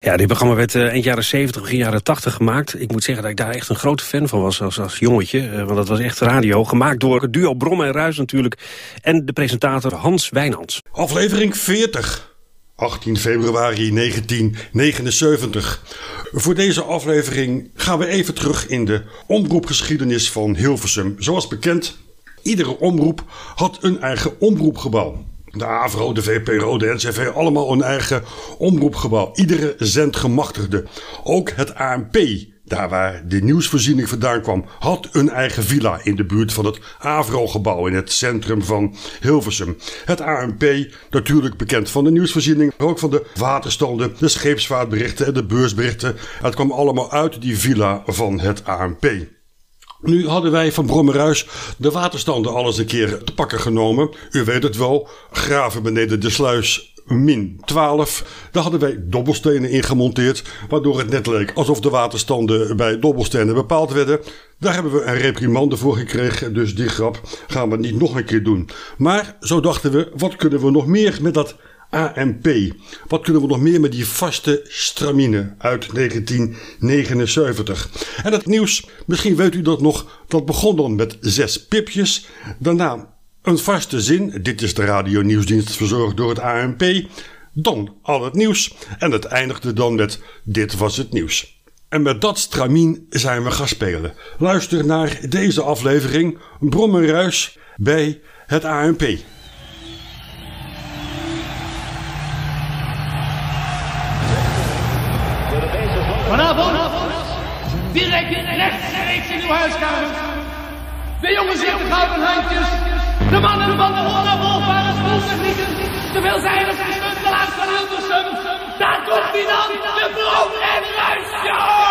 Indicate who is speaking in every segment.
Speaker 1: Ja, dit programma werd uh, eind jaren 70, begin jaren 80 gemaakt. Ik moet zeggen dat ik daar echt een grote fan van was als, als jongetje. Uh, want dat was echt radio. Gemaakt door het duo Brom en Ruis natuurlijk. En de presentator Hans Wijnands.
Speaker 2: Aflevering 40. 18 februari 1979. Voor deze aflevering gaan we even terug in de omroepgeschiedenis van Hilversum. Zoals bekend, iedere omroep had een eigen omroepgebouw. De AVRO, de VPRO, de NCV, allemaal een eigen omroepgebouw. Iedere zendgemachtigde. Ook het ANP, daar waar de nieuwsvoorziening vandaan kwam, had een eigen villa in de buurt van het AVRO-gebouw in het centrum van Hilversum. Het ANP, natuurlijk bekend van de nieuwsvoorziening, maar ook van de waterstanden, de scheepsvaartberichten en de beursberichten. Het kwam allemaal uit die villa van het ANP. Nu hadden wij van Brommeruis de waterstanden alles een keer te pakken genomen. U weet het wel, graven beneden de sluis min 12. Daar hadden wij dobbelstenen in gemonteerd, waardoor het net leek alsof de waterstanden bij dobbelstenen bepaald werden. Daar hebben we een reprimande voor gekregen, dus die grap gaan we niet nog een keer doen. Maar zo dachten we, wat kunnen we nog meer met dat AMP. Wat kunnen we nog meer met die vaste stramine uit 1979? En het nieuws, misschien weet u dat nog, dat begon dan met zes pipjes. Daarna een vaste zin. Dit is de radio nieuwsdienst verzorgd door het AMP. Dan al het nieuws. En het eindigde dan met dit was het nieuws. En met dat stramien zijn we gaan spelen. Luister naar deze aflevering Brommerruis bij het AMP.
Speaker 3: direct rechtstreeks in uw huiskamer. De jongens in de gouden handjes, de mannen van de onafvolg waren schooltechnieken, de veelzijdige stuntelaars van Hilversum. Daar komt hij dan, de Brom en Ruisjo!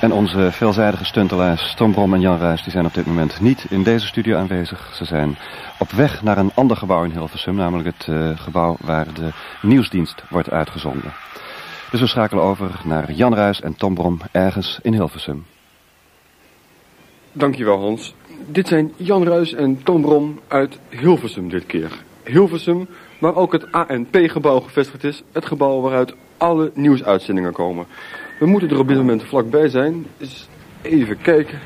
Speaker 4: En onze veelzijdige stuntelaars Tom Brom en Jan Ruijs die zijn op dit moment niet in deze studio aanwezig. Ze zijn op weg naar een ander gebouw in Hilversum, namelijk het uh, gebouw waar de nieuwsdienst wordt uitgezonden. Dus we schakelen over naar Jan Ruijs en Tom Brom ergens in Hilversum.
Speaker 5: Dankjewel Hans. Dit zijn Jan Ruijs en Tom Brom uit Hilversum dit keer. Hilversum, waar ook het ANP-gebouw gevestigd is, het gebouw waaruit alle nieuwsuitzendingen komen. We moeten er op dit moment vlakbij zijn. Dus even kijken.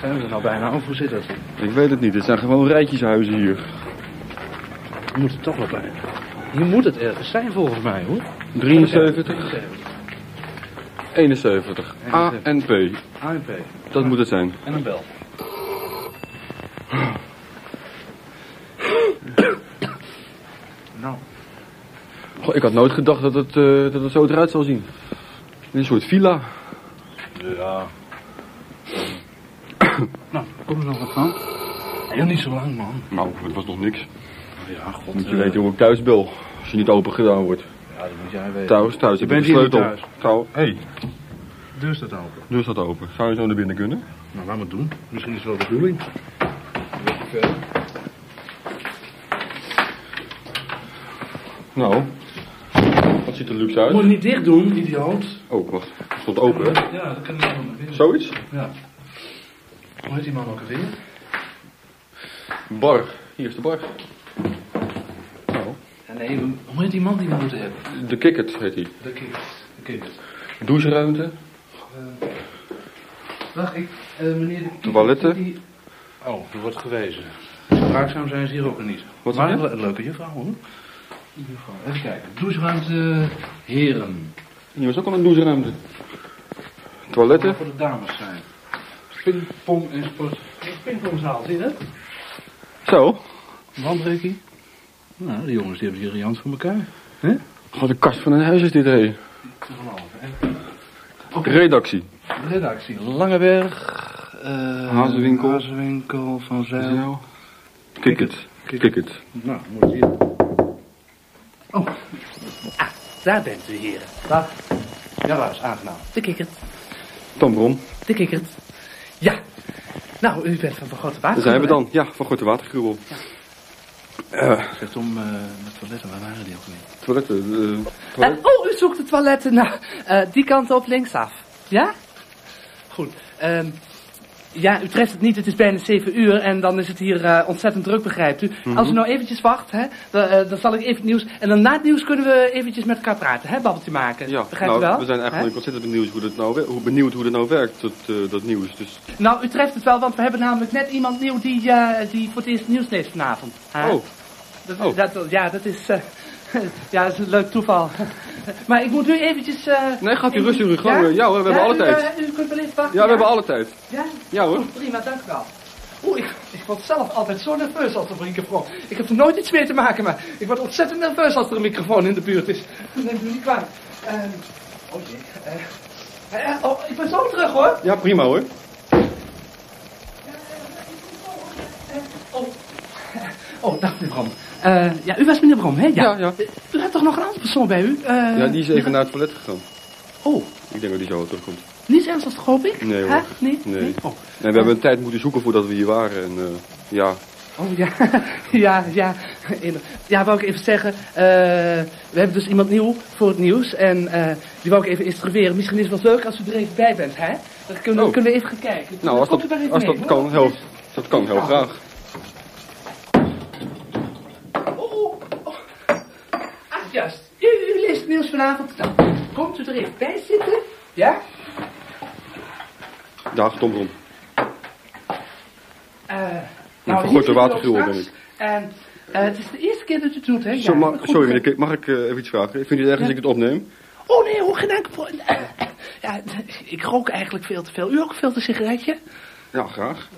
Speaker 6: Zijn we er nou bijna af? Hoe zit dat?
Speaker 5: Ik weet het niet. Het zijn gewoon rijtjeshuizen hier.
Speaker 6: We moeten toch wel bij. Hier moet het ergens zijn volgens mij hoor.
Speaker 5: 73. 71. A en P.
Speaker 6: ANP.
Speaker 5: Dat moet het zijn.
Speaker 6: En een bel. nou.
Speaker 5: Goh, ik had nooit gedacht dat het, eh, dat het zo eruit zou zien. Een soort villa.
Speaker 6: Ja. nou, kom er nog wat van. Heel niet zo lang, man.
Speaker 5: Nou, het was nog niks.
Speaker 6: Ja, god.
Speaker 5: Moet je
Speaker 6: eh,
Speaker 5: weten hoe ik thuis bel. Als je niet open gedaan wordt.
Speaker 6: Ja, dat moet jij weten.
Speaker 5: Thuis, thuis.
Speaker 6: Je
Speaker 5: Ik heb een
Speaker 6: bent hier niet
Speaker 5: sleutel.
Speaker 6: thuis.
Speaker 5: Trouw. Hé, hey,
Speaker 6: Deur staat open.
Speaker 5: deur staat open. Zou je zo naar binnen kunnen?
Speaker 6: Nou, laat maar doen. Misschien is het wel de bedoeling. Weet ik veel.
Speaker 5: Nou. Wat ziet er luxe uit?
Speaker 6: Moet je niet dicht doen, idioot.
Speaker 5: Oh, wacht. Het stond open, hè?
Speaker 6: Ja, dat kan ik wel naar binnen.
Speaker 5: Zoiets?
Speaker 6: Ja. Hoe heet die man ook alweer?
Speaker 5: Bar. Hier is de bar. Nou.
Speaker 6: Ja, nee, we- hoe heet die man die we moeten hebben?
Speaker 5: De Kikkert heet hij.
Speaker 6: Dat kind. Dat kind.
Speaker 5: Doucheruimte.
Speaker 6: Dag, ik, eh, meneer de Kiezer,
Speaker 5: Toiletten?
Speaker 6: die- Oh, er wordt gewezen. Spraakzaam zijn ze hier ook niet.
Speaker 5: Wat
Speaker 6: maar
Speaker 5: zeg
Speaker 6: een
Speaker 5: je?
Speaker 6: le- een leuke juffrouw hoor. Juffrouw. Even kijken. Doucheruimte, heren.
Speaker 5: Hier was ook al een doucheruimte. Toiletten.
Speaker 6: Wat voor de dames zijn. Pingpong en sport. Een pingpongzaal, zie je dat?
Speaker 5: Zo.
Speaker 6: Wandrekkie. Nou, de jongens die hebben hier riant voor elkaar. Hè?
Speaker 5: Wat een kast van een huis is dit, hé.
Speaker 6: Te geloven, hè? Oké,
Speaker 5: Redactie.
Speaker 6: redactie. Langeberg. eh,
Speaker 5: Hazewinkel.
Speaker 6: Hazewinkel, Van Zijl.
Speaker 5: Zo. Kikkert. Kikkert.
Speaker 6: Nou, moet hier. Oh,
Speaker 7: Ah, daar bent u, heren.
Speaker 6: dag. Ja, Ruis, aangenaam.
Speaker 7: De kikkert,
Speaker 5: Tom Brom.
Speaker 7: de kikkert. Ja. Nou, u bent van Van Grote Water.
Speaker 5: Daar zijn we dan. Ja, van Gorte Watergruwel. Eh,
Speaker 6: Zegt om eh met toiletten, waar waren die ook weer?
Speaker 5: toiletten. eh,
Speaker 8: Eh,
Speaker 5: toilet-
Speaker 8: oh, u zoekt de toiletten. Nou, eh, die kant op linksaf. Ja? Goed. ehm, ja, u treft het niet. Het is bijna zeven uur en dan is het hier eh, ontzettend druk, begrijpt u.
Speaker 5: Mhm.
Speaker 8: Als u nou eventjes wacht, hè, dan, eh, dan zal ik even het nieuws... En dan na het nieuws kunnen we eventjes met elkaar praten, hè, babbeltje maken.
Speaker 5: ja,
Speaker 8: begrijpt
Speaker 5: nou,
Speaker 8: u wel?
Speaker 5: we zijn
Speaker 8: Hè?
Speaker 5: eigenlijk ontzettend benieuwd hoe, dat nou, wer- hoe benieuwd hoe dat nou werkt, dat, eh, dat nieuws. Dus,
Speaker 8: Nou, u treft het wel, want we hebben namelijk net iemand nieuw die, eh, die voor het eerst nieuws leest vanavond. hè.
Speaker 5: oh,
Speaker 8: Dat,
Speaker 5: Oh.
Speaker 8: dat- ja, dat is, eh, ja, dat is een leuk toeval. maar ik moet nu eventjes... eh,
Speaker 5: nee, gaat u
Speaker 8: even-
Speaker 5: rustig uw gang. Ja, hoor, we hebben alle
Speaker 8: u,
Speaker 5: tijd.
Speaker 8: eh, u kunt wel even wachten.
Speaker 5: Ja, we hebben alle tijd.
Speaker 8: Ja?
Speaker 5: Ja hoor.
Speaker 8: Prima, dank u wel. Oeh, ik, ik word zelf altijd zo nerveus als er een microfoon... Ik heb er nooit iets mee te maken, maar ik word ontzettend nerveus als er een microfoon in de buurt is. Dat neemt u niet kwalijk. Ehm, oh jee. eh, eh, oh, ik ben zo terug hoor.
Speaker 5: Ja, prima hoor.
Speaker 8: Oh, oh dag meneer Brom. Eh, ja, u was meneer Brom, hè?
Speaker 5: Ja, ja.
Speaker 8: U hebt toch nog een andere persoon bij u? Eh,
Speaker 5: Ja, die is even naar het toilet gegaan.
Speaker 8: Oh,
Speaker 5: Ik denk dat die zo wel terugkomt.
Speaker 8: niet ernstig, hoop ik?
Speaker 5: Nee, hoor.
Speaker 8: Hè? Nee?
Speaker 5: Nee.
Speaker 8: Oh.
Speaker 5: Nee, we hebben een tijd moeten zoeken voordat we hier waren. En eh, ja,
Speaker 8: Oh ja, ja, ja. Inderdaad. Ja, wou ik even zeggen. eh, we hebben dus iemand nieuw voor het nieuws. En eh, die wou ik even instrueren. Misschien is het wel leuk als u er even bij bent, hè? Dan kunnen,
Speaker 5: Oh.
Speaker 8: kunnen we even gaan kijken.
Speaker 5: nou als
Speaker 8: Komt
Speaker 5: dat,
Speaker 8: u maar even
Speaker 5: als
Speaker 8: mee,
Speaker 5: dat
Speaker 8: hoor.
Speaker 5: kan, heel, dat kan heel graag.
Speaker 8: Oh, oh, oh. Ach, juist. U, u leest het nieuws vanavond. Nou, komt u er even bij zitten? Ja?
Speaker 5: Dag Tom Brom.
Speaker 8: Eh,
Speaker 5: vergoot
Speaker 8: hier
Speaker 5: de
Speaker 8: zitten we ook
Speaker 5: watervloer,
Speaker 8: straks.
Speaker 5: denk ik.
Speaker 8: En eh, het is de eerste keer dat u het doet, hè?
Speaker 5: Zo,
Speaker 8: Ja,
Speaker 5: ma-
Speaker 8: goed.
Speaker 5: sorry meneer, Kik, mag ik eh, even iets vragen? Vind je het erg als ik het opneem?
Speaker 8: Oh nee, hoor, geen enkel probleem. Ja, ik rook eigenlijk veel te veel. U ook veel te sigaretje?
Speaker 5: Ja, graag.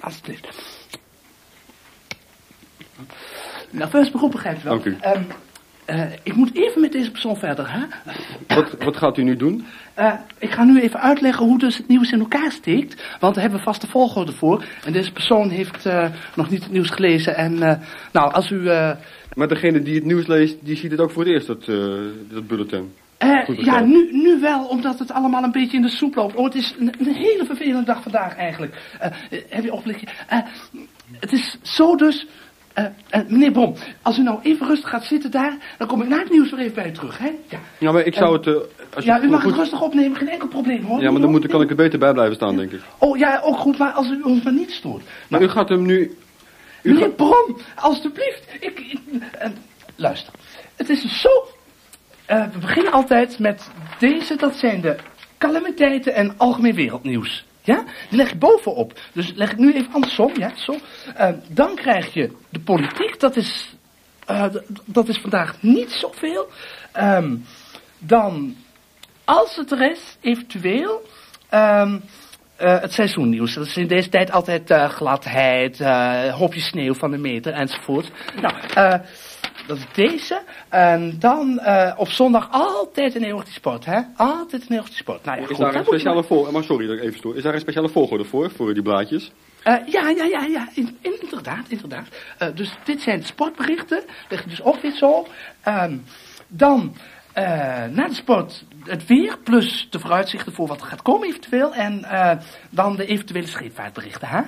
Speaker 8: Alsjeblieft. Nou, first beroep begrijp je wel.
Speaker 5: Dank u.
Speaker 8: Ehm, eh, ik moet even met deze persoon verder, hè?
Speaker 5: Wat, wat gaat u nu doen?
Speaker 8: Eh, ik ga nu even uitleggen hoe dus het nieuws in elkaar steekt. Want daar hebben we vaste volgorde voor. En deze persoon heeft eh, nog niet het nieuws gelezen. En eh, nou, als u... eh,
Speaker 5: Maar degene die het nieuws leest, die ziet het ook voor het eerst, dat, eh, dat bulletin.
Speaker 8: Eh,
Speaker 5: Goed
Speaker 8: ja,
Speaker 5: begrepen.
Speaker 8: nu, nu wel, omdat het allemaal een beetje in de soep loopt. Oh, het is een, een hele vervelende dag vandaag eigenlijk. Eh, eh, heb je opblikje? Eh, het is zo dus... eh, eh, meneer Brom, als u nou even rustig gaat zitten daar... dan kom ik na het nieuws weer even bij u terug, hè? Ja,
Speaker 5: Ja, maar ik zou het... eh, als
Speaker 8: ja
Speaker 5: je-
Speaker 8: u mag
Speaker 5: goed-
Speaker 8: het rustig opnemen, geen enkel probleem, hoor.
Speaker 5: Ja, maar dan moet, kan ik er beter bij blijven staan, denk ik.
Speaker 8: Oh, ja, ook goed, maar als u ons maar niet stoort.
Speaker 5: Maar u gaat hem nu... U
Speaker 8: Meneer
Speaker 5: gaat...
Speaker 8: Brom, alstublieft. Ik, ik- eh, luister, het is dus zo... eh, we beginnen altijd met deze, dat zijn de calamiteiten en algemeen wereldnieuws. Ja? Die leg ik bovenop. Dus leg ik nu even andersom, ja, zo. Eh, dan krijg je de politiek, dat is... eh, d- d- dat is vandaag niet zoveel. Ehm, dan, als het er is, eventueel... ehm, eh, het seizoennieuws. Dat is in deze tijd altijd eh, gladheid, eh hoopje sneeuw van de meter enzovoort. Nou, eh, dat is deze. En dan eh, op zondag altijd een eeuwig die sport, hè? Altijd een eeuwig die sport. Nou ja,
Speaker 5: Is
Speaker 8: goed,
Speaker 5: daar
Speaker 8: daar
Speaker 5: een
Speaker 8: moet je
Speaker 5: speciale volgorde... Maar sorry dat ik even stoor. Is daar een speciale volgorde voor, voor die blaadjes?
Speaker 8: eh, ja, ja, ja, ja, in- in- inderdaad, inderdaad. Eh, dus dit zijn de sportberichten, leg je dus ook weer zo. Ehm, dan, eh, na de sport, het weer, plus de vooruitzichten voor wat er gaat komen eventueel. En eh, dan de eventuele scheepvaartberichten, hè?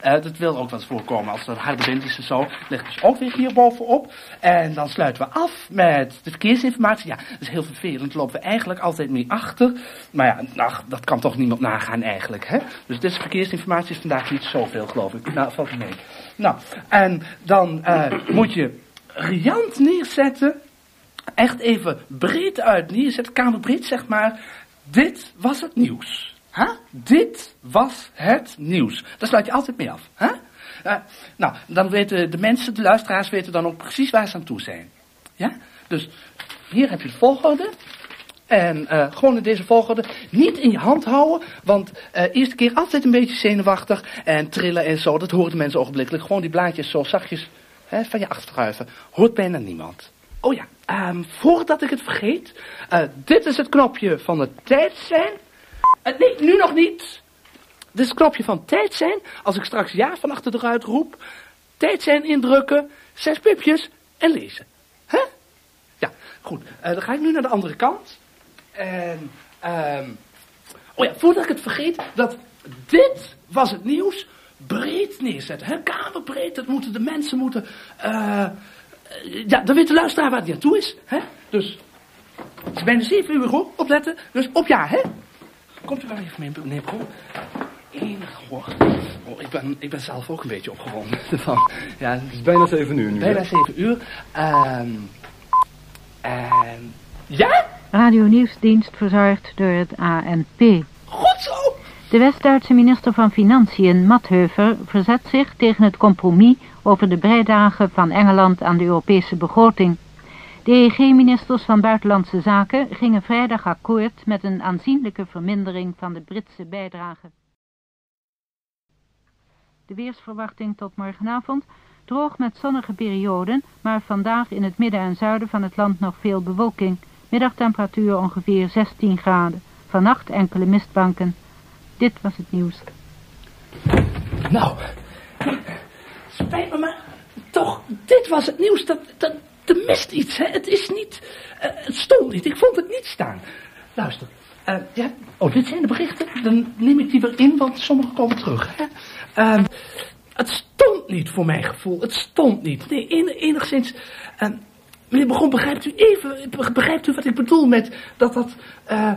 Speaker 8: Eh, dat wil ook wel eens voorkomen als er harde wind is en zo. Leg dus ook weer hierbovenop. En dan sluiten we af met de verkeersinformatie. Ja, dat is heel vervelend. Lopen we eigenlijk altijd mee achter. Maar ja, ach, dat kan toch niemand nagaan eigenlijk, hè? Dus deze verkeersinformatie is vandaag niet zoveel, geloof ik. Nou, valt mee. Nou, en dan eh, moet je riant neerzetten. Echt even breed uit neerzetten, kamerbreed zeg maar. Dit was het nieuws. hè? Dit was het nieuws. Daar sluit je altijd mee af. hè? Eh, nou, dan weten de mensen, de luisteraars weten dan ook precies waar ze aan toe zijn. Ja? Dus hier heb je de volgorde. En eh, gewoon in deze volgorde. Niet in je hand houden. Want eh eerste keer altijd een beetje zenuwachtig. En trillen en zo. Dat horen de mensen ogenblikkelijk. Gewoon die blaadjes zo zachtjes hè, van je achterschuiven. Hoort bijna niemand. Oh ja, ehm, voordat ik het vergeet. eh, dit is het knopje van het tijd zijn. Eh, nee, nu nog niet. Dit is het knopje van tijd zijn. Als ik straks ja van achter de ruit roep. Tijd zijn indrukken. Zes pipjes en lezen. Hè? Ja, goed. Eh, dan ga ik nu naar de andere kant. En, ehm, oh ja, voordat ik het vergeet, dat dit was het nieuws.
Speaker 9: breed neerzetten. Hè? Kamerbreed, dat moeten de mensen moeten... eh, ja, dan weet de luisteraar waar die aan toe is. Hè? Dus het is bijna 7 uur, hoor. Opletten. Dus op ja, hè? Komt u wel even mee, meneer Brom? Enig, hoor. Oh, ik, ben, ik ben zelf ook een beetje opgewonden. ervan. Ja, het is
Speaker 5: Bijna 7 uur nu. hè?
Speaker 9: bijna 7 uur. Ehm ehm, ja?
Speaker 8: Radio Nieuwsdienst verzorgd door het ANP.
Speaker 9: Goed zo!
Speaker 8: De West-Duitse minister van Financiën, Mattheuver, verzet zich tegen het compromis over de bijdrage van Engeland aan de Europese begroting. De EEG-ministers van Buitenlandse Zaken gingen vrijdag akkoord met een aanzienlijke vermindering van de Britse bijdrage. De weersverwachting tot morgenavond droog met zonnige perioden, maar vandaag in het midden en zuiden van het land nog veel bewolking. Middagtemperatuur ongeveer 16 graden. Vannacht enkele mistbanken. Dit was het nieuws.
Speaker 9: Nou, spijt me maar. Toch, dit was het nieuws. Dat, dat, er mist iets, hè. Het is niet... eh, het stond niet. Ik vond het niet staan. Luister. eh, ja, oh, dit zijn de berichten. Dan neem ik die weer in, want sommige komen terug, hè. Ehm, het stond niet voor mijn gevoel. Het stond niet. Nee, en- enigszins... ehm, meneer Begon, begrijpt u even... be- Begrijpt u wat ik bedoel met dat dat... eh,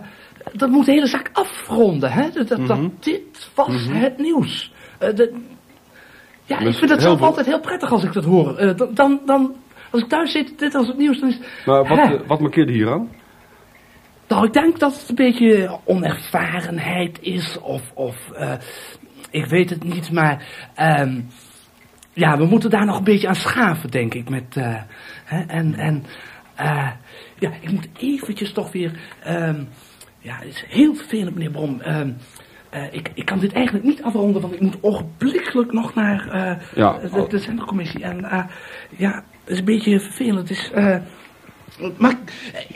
Speaker 9: dat moet de hele zaak afronden, hè. Dat, dat, dat dit was het nieuws. Eh, de, ja, ik
Speaker 5: Dus
Speaker 9: vind het
Speaker 5: heel
Speaker 9: zelf
Speaker 5: veel-
Speaker 9: altijd heel prettig als ik dat hoor. Eh, dan, dan, dan- als ik thuis zit, dit als het nieuws, dan is het...
Speaker 5: Maar wat,
Speaker 9: Hè?
Speaker 5: eh, wat markeerde hier aan?
Speaker 9: Nou, ik denk dat het een beetje onervarenheid is of... of eh, ik weet het niet, maar... ehm, ja, we moeten daar nog een beetje aan schaven, denk ik. Met, eh, hè, en en eh, ja, ik moet eventjes toch weer... ehm, ja, het is heel vervelend, meneer Brom. Ehm, eh, ik, ik kan dit eigenlijk niet afronden, want ik moet ogenblikkelijk nog naar eh,
Speaker 5: Ja.
Speaker 9: de, de centrumcommissie. En eh, ja, het is een beetje vervelend. Het is, eh, maar ik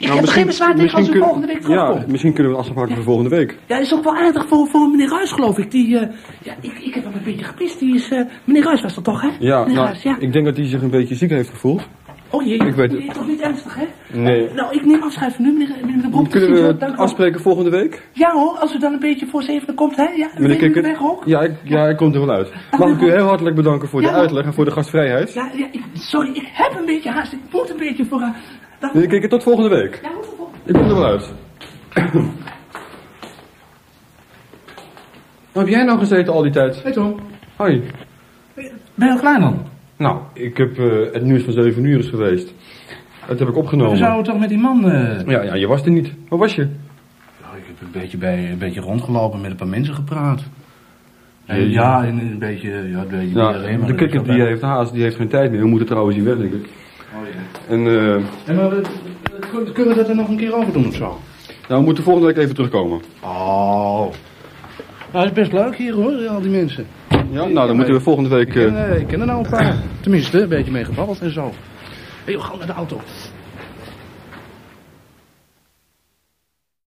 Speaker 5: Nou,
Speaker 9: heb geen
Speaker 5: misschien-
Speaker 9: bezwaar tegen
Speaker 5: misschien
Speaker 9: als u
Speaker 5: kun-
Speaker 9: volgende week
Speaker 5: Ja,
Speaker 9: terugkomt.
Speaker 5: misschien kunnen we een afspraak voor volgende week.
Speaker 9: Ja, is ook wel aardig voor, voor meneer Ruijs, geloof ik. Die, eh, ja, ik, ik heb hem een beetje gepist. Die is, eh, meneer Ruijs was dat toch, hè?
Speaker 5: Ja,
Speaker 9: meneer
Speaker 5: nou,
Speaker 9: Ruijs, ja.
Speaker 5: ik denk dat hij zich een beetje ziek heeft gevoeld.
Speaker 9: oh jee,
Speaker 5: ik weet het.
Speaker 9: nee, toch niet ernstig, hè?
Speaker 5: Nee.
Speaker 9: Nou, ik neem afscheid van u, meneer, meneer de Brom. Tot ziens,
Speaker 5: Kunnen
Speaker 9: hoor.
Speaker 5: we
Speaker 9: Dank u wel.
Speaker 5: afspreken volgende week?
Speaker 9: Ja hoor, als u dan een beetje voor zevenen komt, hè? Ja, dan ben u
Speaker 5: Kikker?
Speaker 9: weg ook.
Speaker 5: Ja, ik, ja, ik kom er wel uit. Mag ik u heel hartelijk bedanken voor de
Speaker 9: Ja, maar-
Speaker 5: uitleg en voor de gastvrijheid.
Speaker 9: Ja, ja, ik- sorry, ik heb een beetje haast. Ik moet een beetje voor... eh, dan-
Speaker 5: Meneer Kikker, tot volgende week.
Speaker 9: Ja, hoeveel voor-
Speaker 5: Ik kom er wel uit. Waar heb jij nou gezeten al die tijd?
Speaker 9: Hey Tom,
Speaker 5: Hoi.
Speaker 9: ben je al klaar dan?
Speaker 5: Nou, ik heb eh, het nieuws van 7 uur is geweest. Dat heb ik
Speaker 6: We
Speaker 5: opgenomen.
Speaker 6: zouden toch met die man... eh,
Speaker 5: Ja, ja, je was er niet. Waar was je?
Speaker 6: Nou, ik heb een beetje, bij, een beetje rondgelopen, met een paar mensen gepraat. En
Speaker 5: Jezus.
Speaker 6: ja, en een beetje... Ja, een beetje
Speaker 5: Nou,
Speaker 6: iedereen, maar
Speaker 5: de
Speaker 6: dat is
Speaker 5: kikker
Speaker 6: wel
Speaker 5: die
Speaker 6: bij-
Speaker 5: heeft haast, die heeft geen tijd meer. We moeten trouwens hier weg, denk ik.
Speaker 6: Oh, ja.
Speaker 5: En eh,
Speaker 6: En maar, eh, kun- kunnen we dat er nog een keer over doen of zo?
Speaker 5: nou, we moeten volgende week even terugkomen.
Speaker 6: Oh. Nou, het is best leuk hier hoor, eh, al die mensen.
Speaker 5: Ja, nou, dan moeten we volgende week...
Speaker 6: Ik ken,
Speaker 5: eh,
Speaker 6: eh, ik ken er nou een paar. Tenminste, een beetje mee gebabbeld en zo. Hé, hey, joh, gauw naar de auto.